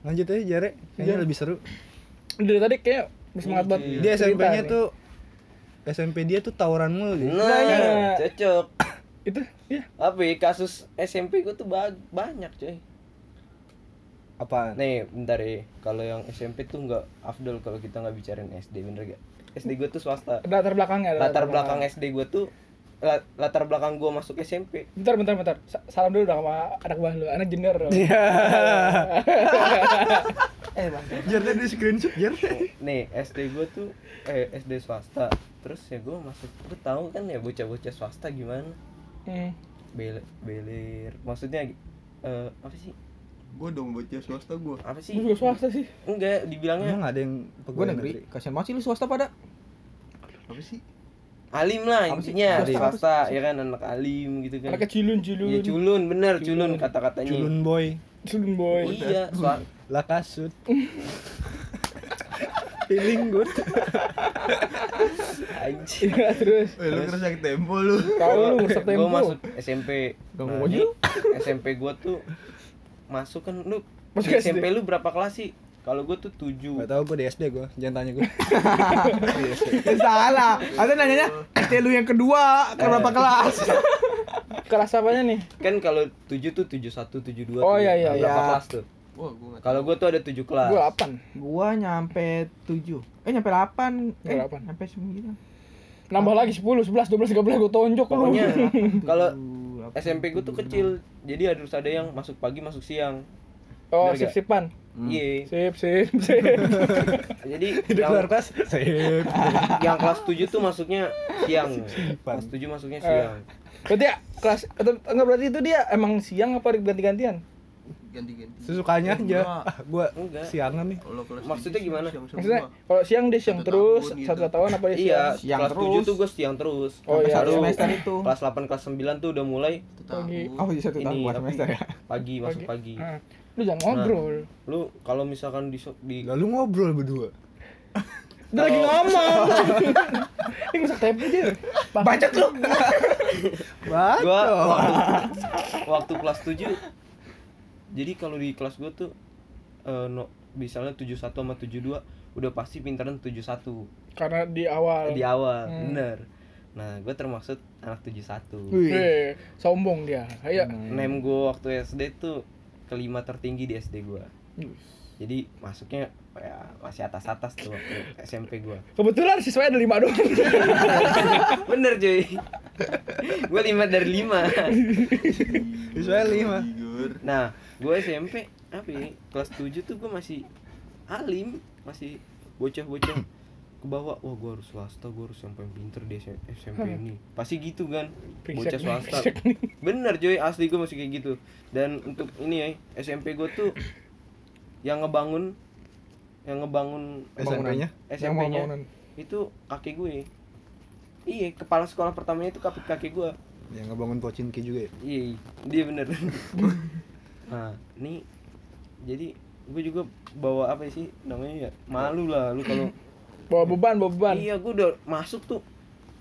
lanjut aja jare kayaknya Jare. lebih seru Dari tadi kayak bersemangat banget. Iya. dia cerita SMP-nya nih. tuh SMP dia tuh tawuran mulu gitu. Nah, iya. cocok. itu ya Tapi kasus SMP gue tuh ba- banyak coy. apaan Nih, bentar ya. Kalau yang SMP tuh nggak afdol kalau kita nggak bicarain SD, bener gak? SD gue tuh swasta. latar belakangnya. ada Latar belakang SD gue tuh la- latar belakang gue masuk SMP. Bentar, bentar, bentar. Sa- Salam dulu dong sama anak buah lu, anak junior. dong. Jar tadi di screenshot Jar. Nih, SD gue tuh eh SD swasta. Terus ya gue masuk, gue tahu kan ya bocah-bocah swasta gimana. Hmm. Bel belir. Maksudnya eh, apa sih? Gue dong bocah swasta gue. Apa sih? Lu juga swasta sih. Enggak, dibilangnya Emang ada yang Gue negeri, kasihan banget sih lu swasta pada Apa sih? alim lah Apa sih? intinya Alim. swasta ya kan anak alim gitu kan. Anaknya cilun, cilun. Iya culun bener culun kata-katanya. culun boy Cilun boy. Iya, swa- lah kasut feeling good anjir. Iya, terus. Eh, lu kerja ke tempo lu. Tahu lu rusak Gue tempo. masuk SMP. Ganggu Nah, aja ini SMP gue tuh masuk kan lu Masuk SD. SMP lu berapa kelas sih? Kalau gue tuh 7. Gak tau gue di SD gue, jangan tanya gue Salah, ada nanyanya SD lu yang kedua, ke berapa kelas? Kelas apanya nih? Kan kalau 7 tuh 71, 72. Oh, tuh. iya, iya, Nah, Berapa iya. kelas tuh? Wah, gue nggak. Kalau gue tuh ada 7 kelas. Gua 8. Gua nyampe 7 Eh nyampe 8 Eh Nyampe delapan. nyampe 9 Nambah lagi 10, 11, 12, 13 gua tonjok lu. Pokoknya kalau SMP gue tuh kecil, jadi harus ada yang masuk pagi, masuk siang. Oh, Bener gak? sip-sipan. Hmm. Iya. Sip, sip, sip. Jadi Hidup yang, luar kelas Sip yang kelas 7 tuh masuknya siang. Kelas 7 masuknya siang. Berarti ya, kelas atau enggak berarti itu dia emang siang apa ganti-gantian? Ganti-ganti. Sesukanya aja Ah, Gue Enggak. siangan nih Kalau kelas Maksudnya tujuh, gimana? siang semua. Maksudnya kalau siang dia siang Satu terus, tahun gitu. satu tahun apa dia oh, Iya, siang? Siang kelas terus. 7 tuh gue siang terus. Oh, iya. Baru Satu semester itu. Kelas 8 kelas 9 tuh udah mulai Satu Pagi. tahun. Oh iya satu tahun ini buat tapi semester ya pagi masuk pagi. Nah, lu jangan ngobrol. Lu kalau misalkan di so- di Lalu ngobrol berdua Dia lagi ngomong. Ini rusak tempo dia. Bacot lu. Wah gua waktu, waktu kelas 7 jadi kalau di kelas gua tuh eh, no, misalnya 71 sama 72 udah pasti pintaran 71 Karena di awal. di awal, Hmm. bener. Nah, gua termasuk anak 71. Wih Weh, Iya, sombong dia. Iya. Ayo. Nem gua waktu SD tuh kelima tertinggi di SD gua. Jadi masuknya ya, masih atas-atas tuh waktu SMP gua. Kebetulan siswanya ada lima doang. Bener cuy Gue 5 dari 5 Visual lima Figur. Nah gue SMP apa ya Kelas 7 tuh gue masih alim Masih bocah-bocah ke bawah wah gue harus swasta gue harus yang paling pinter di SM- SMP ini pasti gitu kan Brengsek bocah nih, swasta brengsek nih. bener cuy asli gue masih kayak gitu dan untuk ini ya SMP gue tuh yang ngebangun yang ngebangun Yang SMP-nya? mau SMP-nya bangunan. itu kakek gue iya kepala sekolah pertamanya itu kakek kakek gue Yang Ya, ngebangun pocinki juga ya Iya, dia bener. nah, ini jadi gue juga bawa apa sih namanya ya malu lah lu kalau Bawa beban, bawa beban. iya gue udah masuk tuh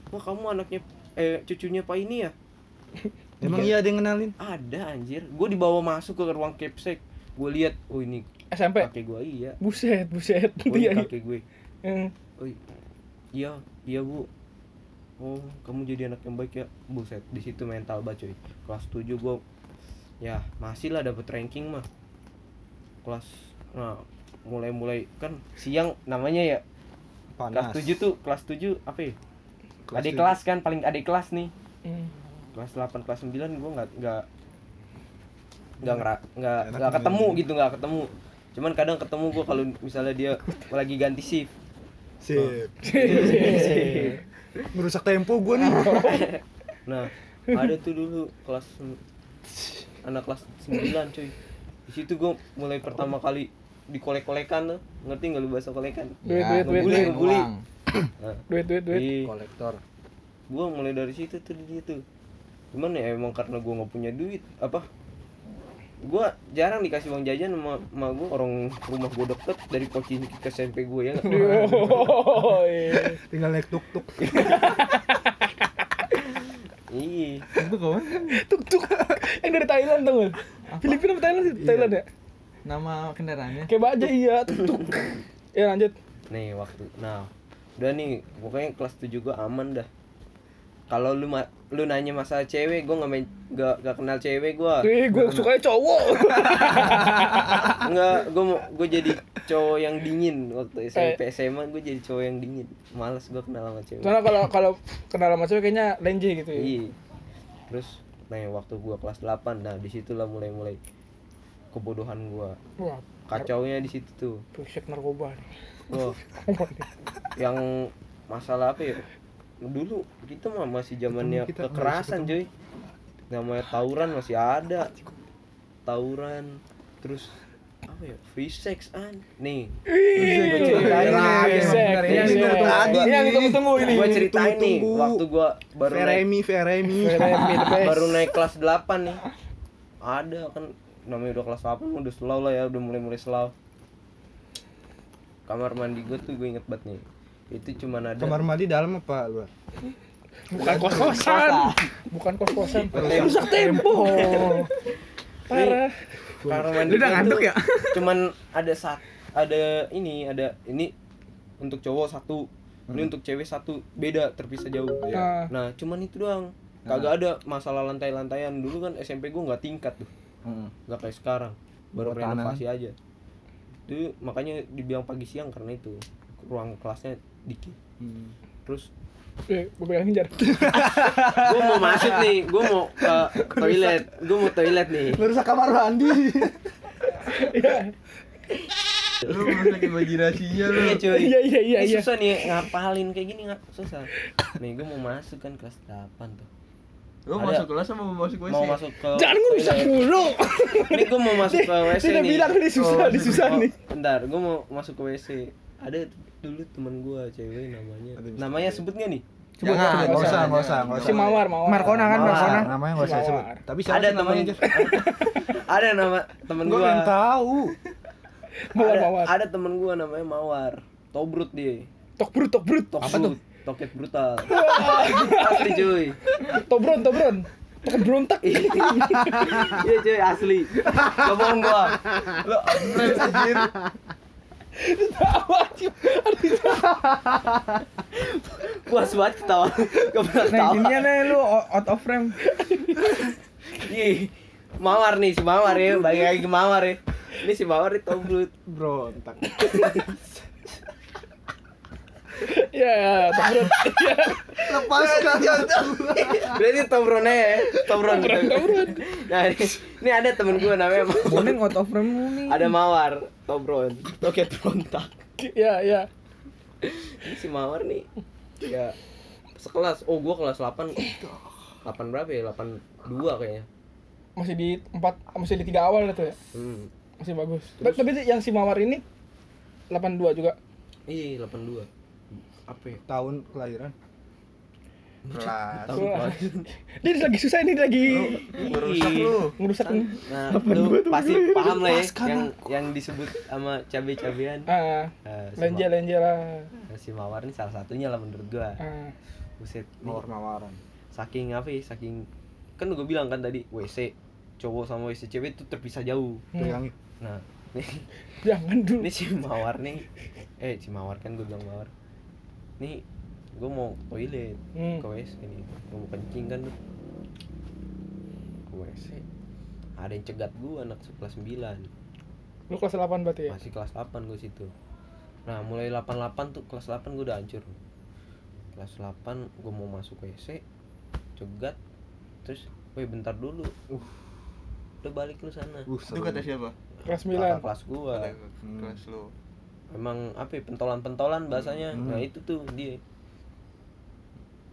wah kamu anaknya eh cucunya pak ini ya Emang iya ada yang kenalin? ada anjir gue dibawa masuk ke ruang capsek gue lihat oh ini SMP. kakek gue iya Buset, buset. Iya, oh, ini Dia. kakek gue Eh, oh i- iya iya bu oh kamu jadi anak yang baik ya buset di situ mental banget cuy kelas 7 gua ya masih lah dapet ranking mah kelas nah mulai mulai kan siang namanya ya Panas kelas 7 tuh kelas 7 apa ya Kelas adik tujuh. kelas kan paling adik kelas nih eh. kelas 8 kelas 9 gua nggak nggak nggak ngera- nggak Enak nggak nih. ketemu gitu nggak ketemu cuman kadang ketemu gua kalau misalnya dia lagi ganti shift Sip Iya, Iya, Merusak tempo gue nih Nah, ada tuh dulu kelas anak kelas 9 cuy. Di situ gue mulai pertama kali dikolek-kolekan tuh. Ngerti nggak lu bahasa kolekan? Duit, Ya, ngegulai, duit, duit, duit. Ngegulai. ngulang. Nah, Duit, duit, duit. Iya. Kolektor gue mulai dari situ tuh di situ. Cuman ya emang karena gue nggak punya duit apa gue jarang dikasih uang jajan sama, sama gue orang rumah gue deket dari pocin ke SMP gue ya nggak? Oh, iya. Tinggal naik tuk-tuk iya Itu kawan Iya. tuk tuk yang dari Thailand tuh Filipina apa Thailand sih Thailand ya Nama kendaraannya. Kayak baja iya. Tuk. Ya lanjut. nih waktu nah udah nih pokoknya kelas 7 gua aman dah kalau lu ma- lu nanya masalah cewek gua nggak main- nggak nggak kenal cewek gua Ih, gue sukanya ya, cowok. nggak gua mau gua jadi cowok yang dingin waktu Eh. SMP SMA gua jadi cowok yang dingin males gua kenal sama cewek Karena kalau kalau kenal sama cewek kayaknya lenje gitu ya. Iya. terus nah waktu gua kelas 8 nah disitulah mulai mulai kebodohan gua Wah, kacaunya di situ tuh pusat narkoba nih. Wah, yang masalah apa ya dulu kita mah masih zamannya Ketemu kita, kekerasan cuy namanya tawuran masih ada tawuran terus apa ya free sex an nih Ih, Iya, ceritain bener, nih. bener, Yang bener. ditunggu tadi Ini yang nih. ditunggu-tunggu iya, ini. gua ceritain nih Tunggu, tunggu. waktu gua baru naik Feremi, Feremi. Feremi, the best. Ah, baru naik kelas 8 nih ada kan namanya udah kelas 8 udah slow lah ya udah mulai mulai slow kamar mandi gue tuh gue inget banget nih itu cuman ada Kamar mandi dalam apa luar? bukan kos-kosan. Bukan kos-kosan. Tem- Rusak tempo. Iya. Parah. kamar mandi Lu udah gua ngantuk tuh ya? cuman ada saat ada ini ada ini untuk cowok satu ini untuk cewek satu beda terpisah jauh Iya. nah cuman itu doang kagak ada masalah lantai-lantaian dulu kan SMP gue nggak tingkat tuh Hmm. nggak kayak sekarang baru Pertahanan. renovasi aja itu makanya dibilang pagi siang karena itu ruang kelasnya dikit Hmm. terus Eh, gue pegangin jar. gue mau masuk nih gue mau ke toilet gue mau toilet nih Lu rusak kamar mandi. Iya, Lu merusak imajinasinya lu. iya cuy Iya, iya, iya, Ini iya. susah nih ngapalin kayak gini nggak susah nih gue mau masuk kan kelas 8 tuh Lu Ada. masuk kelas sama mau masuk WC? mau masuk ke Jangan gue rusak toilet. mulu. ini gue mau masuk ke wc Dia udah nih bilang ini susah, Oh, ini susah Oh, nih. bentar gue mau masuk ke wc ada dulu temen gue cewek namanya Ada Mr. namanya sebut nggak nih Jangan, Coba, coba, nggak coba. usah, nggak usah, nggak Si usah. Mawar, Mawar. Markona kan, Mawar. Markona. namanya nggak usah Mawar. sebut. Tapi siapa ada sih temen namanya? ada nama temen Gua gua pengen tahu. Mawar, ada, Mawar. ada temen gua namanya mawar tobrut dia Tok brut, tok brut. Tok brut, toket brutal asli cuy Tobron, tobron. Tok berontak. iya cuy asli Gak bohong gua lo Apa sih? puas banget ketawa gak pernah Nah, ketawa jadinya nih lu out of frame. Ih, mawar nih si mawar ya balik lagi ke mawar ya ini si mawar itu tobrut Bro, entak. Iya, iya, tok brut. Lepaskan. berarti tobronnya ya tobron gitu. nah ini, ini ada temen gua namanya Mawar. Boning out of frame lu nih. ada mawar tobron toket berontak Iya, iya. Ini si Mawar nih ya sekelas oh gua kelas 8 8 berapa ya 82 kayaknya Masih di empat, masih di tiga awal itu ya. hmm. Masih bagus. Tapi- Tapi yang si Mawar ini 82 juga. iya 82 apa ya Tahun kelahiran. Kelas. tahun Wah. kemarin. Dia lagi susah ini dia lagi Oh, Merusak lu. ngerusak nih. nah lu pasti paham lah ya yang yang disebut sama cabe-cabean Ah, Eh, si lenje Ma- lenje lah. si Mawar ini salah satunya lah menurut gua Ah, buset nih, Mawar mawaran. Hmm. saking apa ya saking kan gua bilang kan tadi WC cowok sama WC cewek itu terpisah jauh Hmm. Pegangin. nah nih Jangan dulu. ini si mawar nih eh si mawar kan gue bilang mawar nih gue mau ke toilet Hmm. ke wc ini gue mau kencing kan tuh ke wc ada yang cegat gue anak kelas 9 Lu kelas 8 berarti ya? masih kelas 8 gue situ nah mulai 88 tuh kelas 8 gue udah hancur kelas 8 gue mau masuk ke wc cegat terus woi bentar dulu uh udah balik lu sana Uh, Itu kata siapa? Kelas 9. Kakak kelas gue Kata Hmm. kelas lu. emang apa ya, pentolan-pentolan bahasanya Hmm. nah itu tuh dia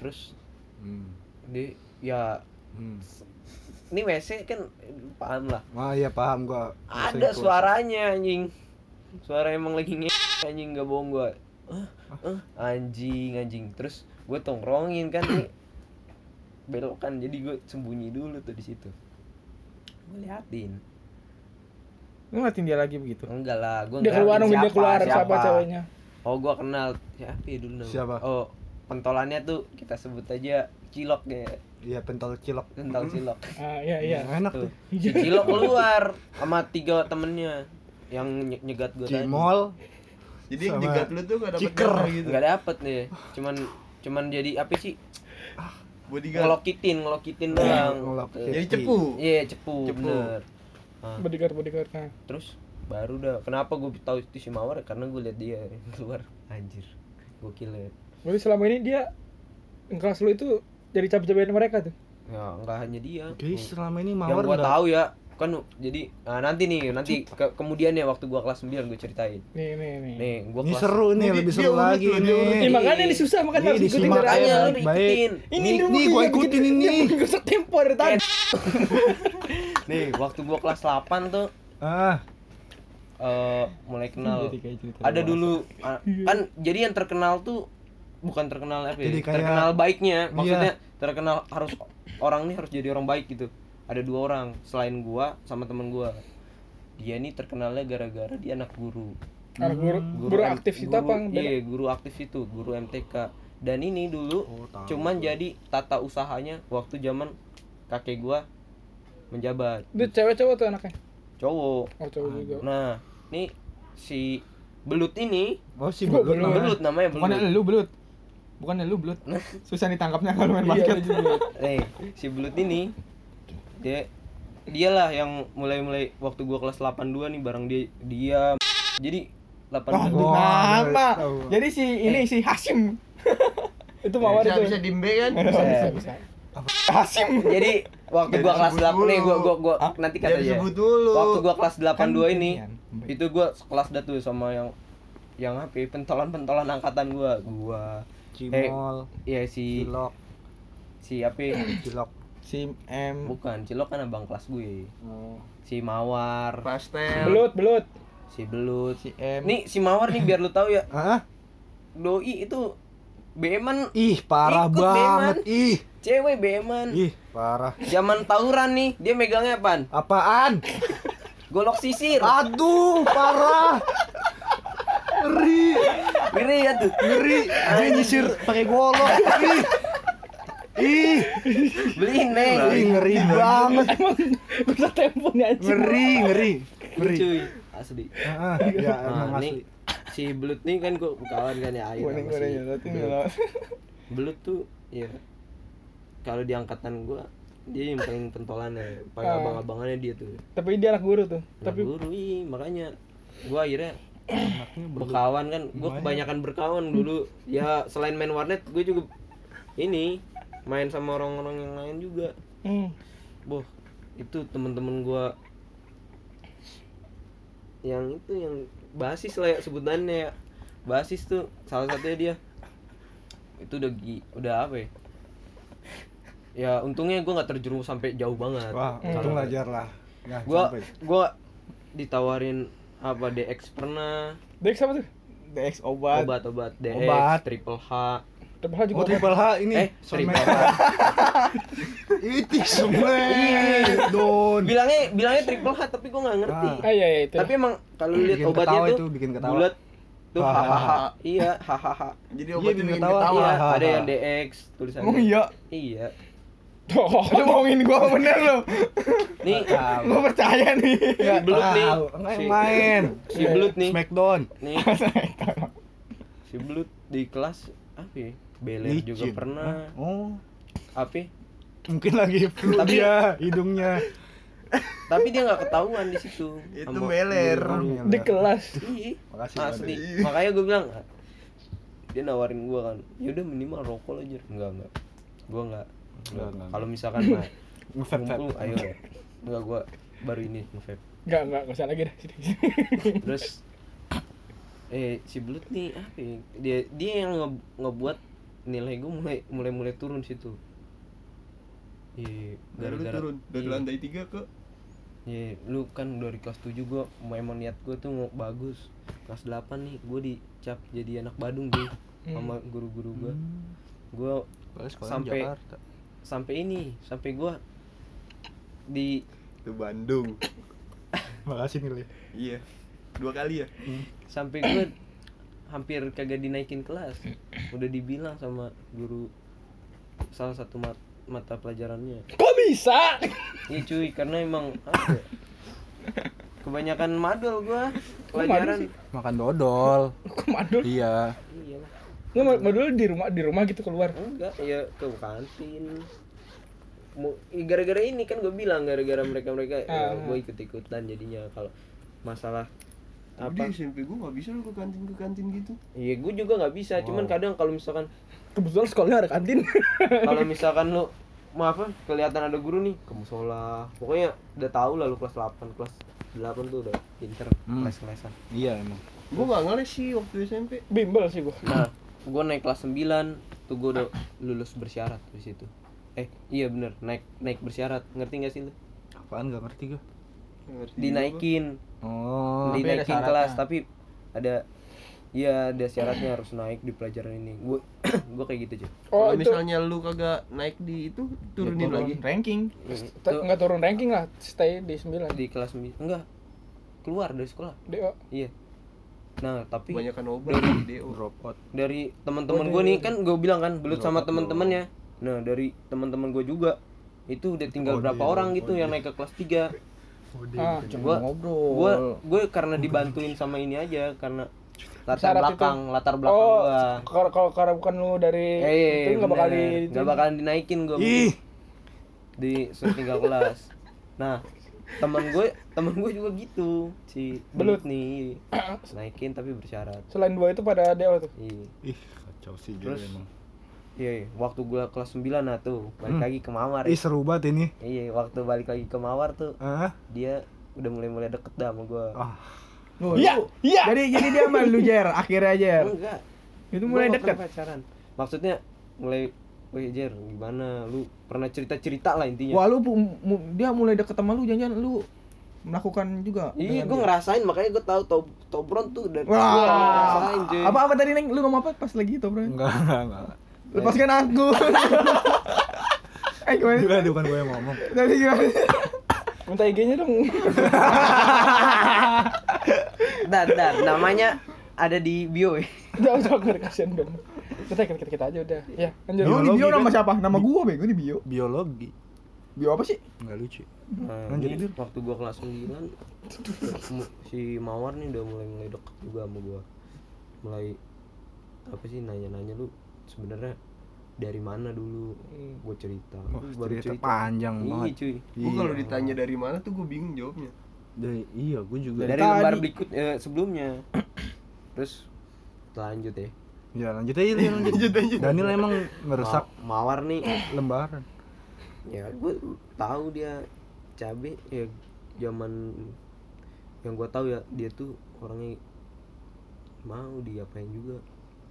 terus Hmm. dia ya ini WC kan eh, paham lah Wah, iya paham gua. ada suaranya anjing suara emang lagi nge anjing gak bohong gua Hah? Hah? anjing anjing terus gue tongkrongin kan nih belokan jadi gue sembunyi dulu tuh di situ gue liatin Lu ngeliatin dia lagi begitu. enggak lah gue Dia keluar nungguin dia keluar siapa ceweknya. Oh gua kenal siapa ya dulu namanya? Siapa? Oh pentolannya tuh kita sebut aja cilok ya Iya pentol cilok. tentang cilok. Ah, iya iya. Enak tuh. Tuh. Si cilok keluar sama tiga temennya. yang nye- nyegat gue tadi Cimol. Jadi Sama jegat lu tuh gak dapet kicker. dana gitu. nggak dapet nih cuman cuman jadi apa sih Bodyguard. ngelokitin ngelokitin doang Iya, ngelokitin. Jadi cepu. iya cepu, Cepu. bener Ah, bodyguard bodyguard nah. terus baru dah kenapa gue tahu itu si mawar karena gue liat dia keluar anjir gokil ya Berarti selama ini dia kelas lu itu jadi cabai-cabian mereka tuh. ya nggak hanya dia Jadi selama ini yang mawar gua nggak- tahu ya kan jadi nah, nanti nih nanti ke- kemudian ya waktu gua kelas 9 gue ceritain Nih nih nih. nih gua Ini kelas seru nih, Ini lebih dia seru unik lagi loh, dia Nih unik. Ini- nih. makanya ini susah Ini makanya kan harus ikutin disimak gerakan. makanya ya, baik. lu diikutin Ini Nih, dulu nih, dia gua bikin- ikutin ini. dia bikin Gosok tempo dari tadi. nih waktu gua kelas 8 tuh Ah, eh, mulai kenal ada dulu ah, Iya. kan jadi yang terkenal tuh bukan terkenal apa ya, Jadi kayak- Iya. terkenal baiknya maksudnya terkenal harus orang nih harus jadi orang baik gitu ada dua orang selain gua sama temen gua dia nih terkenalnya gara-gara dia anak guru Anak guru, Hmm. guru aktif itu guru- apa? yang beda? Iya, guru aktif itu, guru MTK. Dan ini dulu Oh, tahu cuman jadi tata usahanya waktu zaman kakek gua menjabat. Itu cewek cowok tuh anaknya. Cowok. Oh, cowok juga. Nah, nih si Belut ini, oh si Gua belum. belum. Belut namanya Belut. Bukannya lu belut. Bukannya lu belut. Susah ditangkapnya kalau Iya, main basket. Eh, si Belut ini dia dialah yang mulai-mulai waktu gua kelas 82 nih bareng dia dia. Jadi 82. Oh, Nama. tahu. Jadi si ini si Hasim. Itu Iya, mawar Bisa itu. bisa dimbe kan? Bisa Bisa, bisa. Ah, Hasim. Eh, Jadi waktu Jadi gua kelas sebut 8 nih dulu. gua gua gua Hah? nanti kata Jangan aja. disebut dulu. Waktu gua kelas 82 ini, iya. Eh, Kan kalian. itu gua sekelas dah tuh sama yang yang apa ya, pentolan-pentolan angkatan gua. Gua Cimol, ya si cilok, si apa ya? cilok. Si M. bukan Cilok kan abang kelas gue. Si Mawar, Pastel. Belut, belut. si Belut. Si M. Nih si Mawar nih biar lu tahu ya, Ah, doi itu BM-an ih parah Ikut, banget. Ih, cewek BM-an. ih parah. Zaman tawuran nih, dia megangnya apaan? Apaan? Golok sisir. Ah. Aduh, parah. Ngeri, Ngeri ya tuh. ngeri. Dia nyisir pakai golok. Ih. Ih, Beliin, Neng. ih, ngeri banget. Gosok tempo nih ya, anjing. Ngeri, ngeri. Ngeri. Cuy, asli. Heeh, ya emang Nah, asli. nih si Belut nih kan gua kawan kan ya air sama si Belut. Belut tuh ya kalau di angkatan gua dia yang paling pentolannya, paling Ah. abang-abangannya dia tuh. Tapi dia anak guru tuh. Nah, Tapi guru ih, makanya gua akhirnya berkawan kan, gua kebanyakan berkawan dulu. Ya selain main warnet, gua juga ini main sama orang-orang yang lain juga. hmm. Boh, itu temen-temen gua yang itu yang basis lah ya sebutannya ya. Basis tuh salah satunya dia itu udah gi, udah apa ya? Ya untungnya gua nggak terjerumus sampai jauh banget. Wah, Kalau- untung lajar lah. Nah, Gua sampai. gua ditawarin apa DX pernah Dek sama tuh. DX obat. obat-obat DX Obat. triple H Oh, Terbah juga. triple H ini. eh triple H Itu sebelah. Don. bilangnya bilangnya triple H tapi gua nggak ngerti Ah iya iya itu. tapi emang kalau lu Eh, lihat Bikin obatnya ketawa tuh itu, bikin ketawa. bulat tuh Hahaha. hahaha iya hahaha Jadi Iya, obatnya bikin bikin ketawa. ketawa. iya hahaha. Oh, ada yang DX tulisannya Emang iya. iya Oh, Lu bohongin gua bener lu. nih Gua percaya nih. si belut nih Tahu, nggak si, Ah, main. si belut nih Smackdown. nih si belut di kelas apa ya beler Licin. juga pernah Oh, apa ya? mungkin lagi flu Tapi- dia hidungnya. tapi dia nggak ketahuan di situ Itu sama beler. ya. guru-guru. di kelas. Iya. Makasih, Asli. Makanya gue bilang dia nawarin gue kan. Ya udah minimal rokok aja. Enggak enggak. Gue enggak. Enggak, enggak. Kalau misalkan mah Ngefap kumpul ayo. Enggak gue baru ini ngevape. Enggak, enggak, enggak usah lagi dah. Sini, sini. Terus eh si Belut nih apa ya? Dia dia yang nge- ngebuat nilai gue mulai mulai mulai turun situ. Iya, Baru gara-gara turun dari iya. lantai tiga ke Ya, lu kan dari kelas 7 gua memang niat gua tuh mau bagus. Kelas 8 nih gua dicap jadi anak Badung gue Iya. sama guru-guru gua. Hmm. Gua sampai sampai ini, sampai gua di ke Bandung. Makasih nih, Li. Iya. Dua kali ya. sampai gua hampir kagak dinaikin kelas. Udah dibilang sama guru salah satu mat- mata pelajarannya. Kok bisa? Iya cuy, karena emang apa ya? kebanyakan madol gua Kok madol pelajaran sih? Makan dodol. Kok madul? Iya. iyalah Nggak ma- madul di rumah di rumah gitu keluar. enggak ya ke kantin Mu- i- gara-gara ini kan gue bilang gara-gara mereka mereka Ah. gue ikut ikutan jadinya kalau masalah apa Tapi di SMP gue gak bisa lu ke kantin ke kantin gitu. Iya gue juga nggak bisa, cuman kadang kalau misalkan Kebetulan sekolahnya ada kantin. kalau misalkan lu mau apa kelihatan ada guru nih ke musola pokoknya udah tahu lah lu kelas 8 kelas 8 tuh udah pinter Hmm. kelas kelasan Iya emang. Gue gak ngeles sih waktu SMP. Bimbel sih gua. nah gue naik kelas 9 tuh gue udah lulus bersyarat di situ eh iya bener naik naik bersyarat ngerti gak sih lu Apaan gak ngerti gue. dinaikin Oh. dinaikin kelas tapi ada Iya, ada syaratnya harus naik di pelajaran ini. Gue gue kayak gitu, cuy. Oh, Kalau itu misalnya lu kagak naik di itu turunin lagi. ranking. te- Tuh, nggak turun ranking lah, stay di 9 di Oh, di kelas sembi- enggak keluar dari sekolah. DO. Iya. Nah, tapi Kebanyakan obat di DO. Drop out. dari teman-teman gue nih kan gue bilang kan belut sama teman-temannya. Nah, dari teman-teman gue juga itu udah Oh, tinggal berapa iya, orang gitu yang naik ke kelas 3. Ah, Gua gue ngobrol. gue karena dibantuin sama ini aja karena Syarat latar itu. belakang, latar belakang oh, gua. kalau kalau kalau bukan lu dari Eh, itu nggak bakal di bener. Nggak bakalan dinaikin gue Ih. di suruh tinggal kelas. Nah, teman gue, teman gue juga gitu si belut nih naikin tapi bersyarat. selain dua itu pada DO tuh. Iya. Ih kacau sih Terus? Iya, iya. waktu gue kelas 9 nah tuh balik Hmm. lagi ke Mawar. Ih seru banget ini. Iya, waktu balik lagi ke Mawar tuh Ah. dia udah mulai-mulai deket dah sama gue. Ah. Iya, iya. Jadi jadi dia sama lu Jer, akhirnya Jer. Enggak. Itu Gua mulai nggak deket. pernah pacaran. Maksudnya mulai Wih Jer, gimana? Lu pernah cerita-cerita lah intinya. Wah lu pu- mu- dia mulai deket sama lu jangan lu melakukan juga. dengan Iya, gue dia. ngerasain makanya gue tahu to Tobron tuh dari Wah. gua ngerasain cuy. Apa apa tadi Neng? Lu ngomong apa pas lagi itu, Bro? Enggak, enggak, enggak. Lepaskan aku. eh gimana? Gila, bukan gue yang ngomong. Tadi gimana? Minta IG-nya dong. Dan dan namanya ada di bio. ya. Udah, udah, udah, kasihan dong. Kita kita kita, kita aja udah. Ya, lanjut. Lu di Biologi bio kan? nama siapa? Nama gua bego di bio. Biologi. Bio apa sih? Enggak lucu. Nah, Lanjut, ini Dir. waktu gua kelas 9 mu- si Mawar nih udah mulai mulai deket juga sama gua. Mulai apa sih nanya-nanya lu sebenarnya dari mana dulu? Gua cerita. Wah, Lu cerita panjang Iya, banget. cuy. Gue kalau Iya. ditanya dari mana tuh gue bingung jawabnya. Dari, iya, gue juga. Dari lembar berikut eh, sebelumnya. Terus lanjut ya. Ya, lanjut aja, Dir, lanjut. Daniel emang ngerusak Ma- Mawar nih lembaran. ya gue tahu dia cabe ya zaman yang gue tahu ya dia tuh orangnya mau diapain juga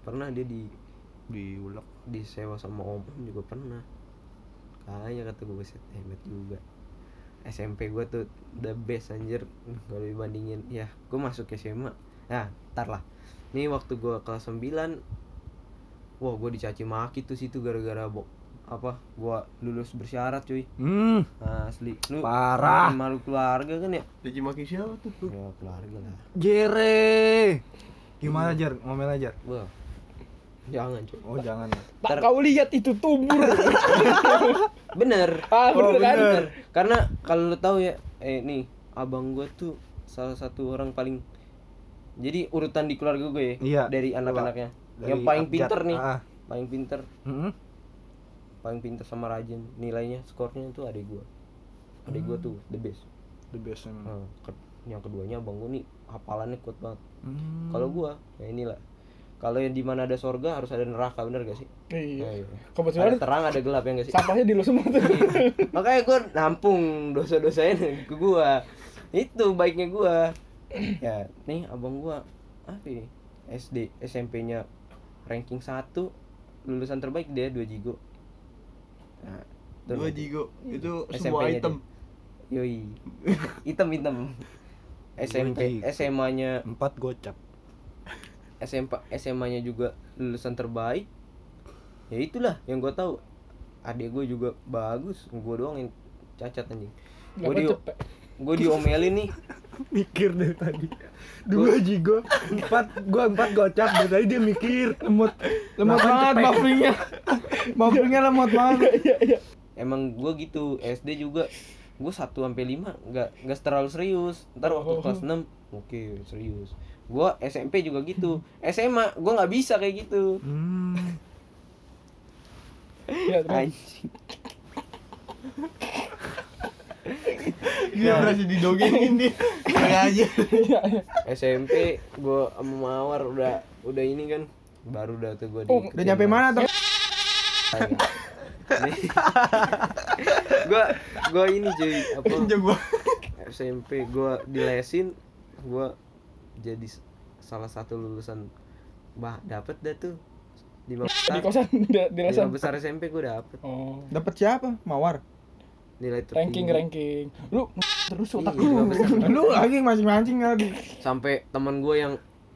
pernah dia di Diulek. disewa sama om juga pernah kayaknya kata gue beset hebat juga SMP gue tuh the best anjir kalau dibandingin ya gue masuk SMA nah ntar lah nih waktu gue kelas 9 wah gue dicaci maki tuh situ gara-gara bok apa gue lulus bersyarat cuy Hmm, asli lu Parah. makin malu keluarga kan ya Jadi maki siapa tuh? ya keluarga lah Jere. Gimana, Jer? Ngomel aja. wah jangan cuy Oh, jangan. ya. Tak kau lihat itu tumbuh. bener Oh, Ah, bener kan? bener. karena kalau lu tahu ya eh nih abang gue tuh salah satu orang paling jadi urutan di keluarga gue ya Iya. dari anak-anaknya Dari yang paling abjad. pinter nih Ah. paling pinter Hmm. paling pinter sama rajin nilainya skornya tuh adik gue adik gue tuh the best The best emang. Hmm. Nah, ke- yang keduanya abang gue nih hafalannya kuat banget Hmm. kalau gue ya inilah kalau yang dimana ada sorga harus ada neraka bener gak sih Iya. Nah, iya. ada Kebetulan terang ada gelap ya gak sih sampahnya di lu semua tuh. Iya. makanya gue nampung dosa-dosanya ke gua itu baiknya gua ya nih abang gua apa ini SD SMP-nya ranking 1 lulusan terbaik dia 2 jigo nah, itu Dua nanti. jigo itu SMP-nya semua dia. item. yoi item item SMP Jigo. SMA-nya Hmm. Empat gocap. SMP SMA-nya juga lulusan terbaik ya itulah yang gua tahu adik gue juga bagus gua doang yang cacat anjing gue Gua di cepet. gue diomelin nih Mikir dari tadi. Dua jigo, empat, gua empat gocap. Dari tadi dia mikir. Lemot. Lemot Lapan banget cepet. buffingnya. buffingnya lemot banget. Iya, iya. emang gue gitu SD juga gue satu sampai lima nggak nggak terlalu serius ntar waktu Oh. kelas 6 oke serius gue SMP juga gitu SMA gue nggak bisa kayak gitu Hmm. Iya, terus. anjing Gila berasa didogengin dia. Kayak aja. Iya, iya. SMP gue sama Mawar udah udah ini kan baru udah tuh gue Oh, udah Udah nyampe mana tuh? gue gue ini cuy apa Jago. SMP gua dilesin gua jadi s- salah satu lulusan bah dapet dah tuh di Di besar kosan di, di lima lesan. besar SMP gua Iya, dapet Oh. Dapat siapa? Mawar. nilai tertinggi Ranking ranking. Lu terus Iya, otak di lima lu. besar. Lu lagi mancing-mancing lagi. sampai teman gua yang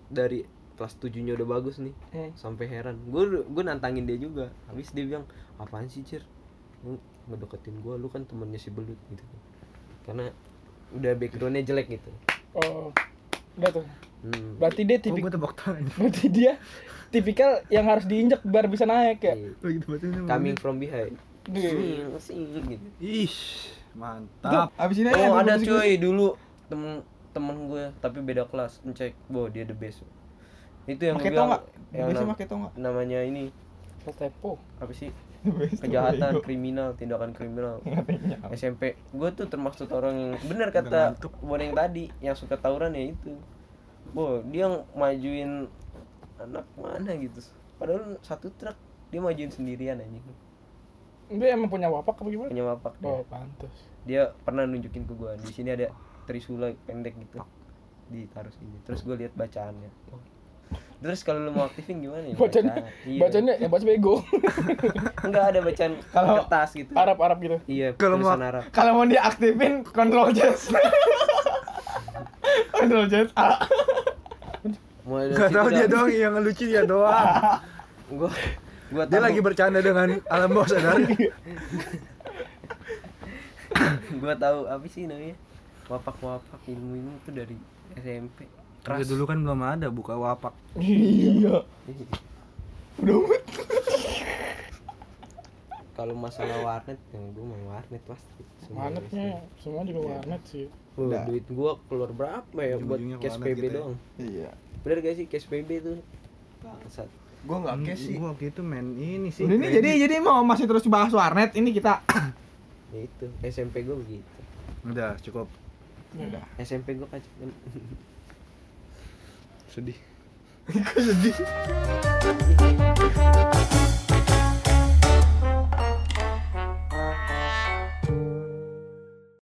dari kelas tujuhnya udah bagus nih Hmm. sampai heran gua gua nantangin dia juga habis dia bilang apaan sih cir lu ngedeketin gua lu kan temennya si belut gitu karena udah backgroundnya jelek gitu Oh. Udah tuh. hmm. Berarti dia Kok tipik gue oh, tebak tangan. berarti dia tipikal yang harus diinjek biar bisa naik ya. Iya. Lagi tebak tangan. coming from behind Duh. Sing, sing, gitu Ish, mantap. Abis ini Oh aja ada cuy dulu temen temen gue tapi beda kelas ngecek wow dia the best itu yang Pakai gue tau bilang nggak? yang Biasa nam- pakai tau nggak? namanya ini Tepo. apa sih kejahatan kriminal tindakan kriminal SMP gue tuh termasuk orang yang bener kata Bon yang tadi yang suka tawuran ya itu Bo dia yang majuin anak mana gitu padahal satu truk dia majuin sendirian anjing Dia emang punya wapak apa gimana? punya wapak dia. Oh, pantas. dia pernah nunjukin ke gue di sini ada trisula pendek gitu ditaruh sini terus gue lihat bacaannya terus kalau lu mau aktifin gimana ya Bacanya, Iya. bacanya ya baca bego. enggak ada bacaan Kalau kertas gitu Arab-Arab gitu. iya Kalau mau- tulisan Arab Kalau mau diaktifin kontrol jazz. kontrol jazz. Ah. mau Gak tau dia doang yang lucu dia doang. gue gue Dia lagi bercanda dengan alam bawah sadar. Iya. gue tahu apa sih namanya wapak wapak ilmu ilmu itu dari SMP keras Dulu kan belum ada buka wapak. Iya. kalau masalah warnet ya gue mau warnet pasti Semua Warnetnya semua juga warnet sih. Oh, duit gua keluar berapa ya buat Ujung-ujungnya cash kemana PB gitu ya? doang? Iya. Bener gak sih cash PB tuh? Bangsat. Gua enggak Hmm, cash sih. Gua waktu itu main ini sih. Udah, ini jadi jadi mau masih terus bahas warnet ini kita. Ya itu SMP gua begitu. udah cukup SMP gua kan kacau. sedih.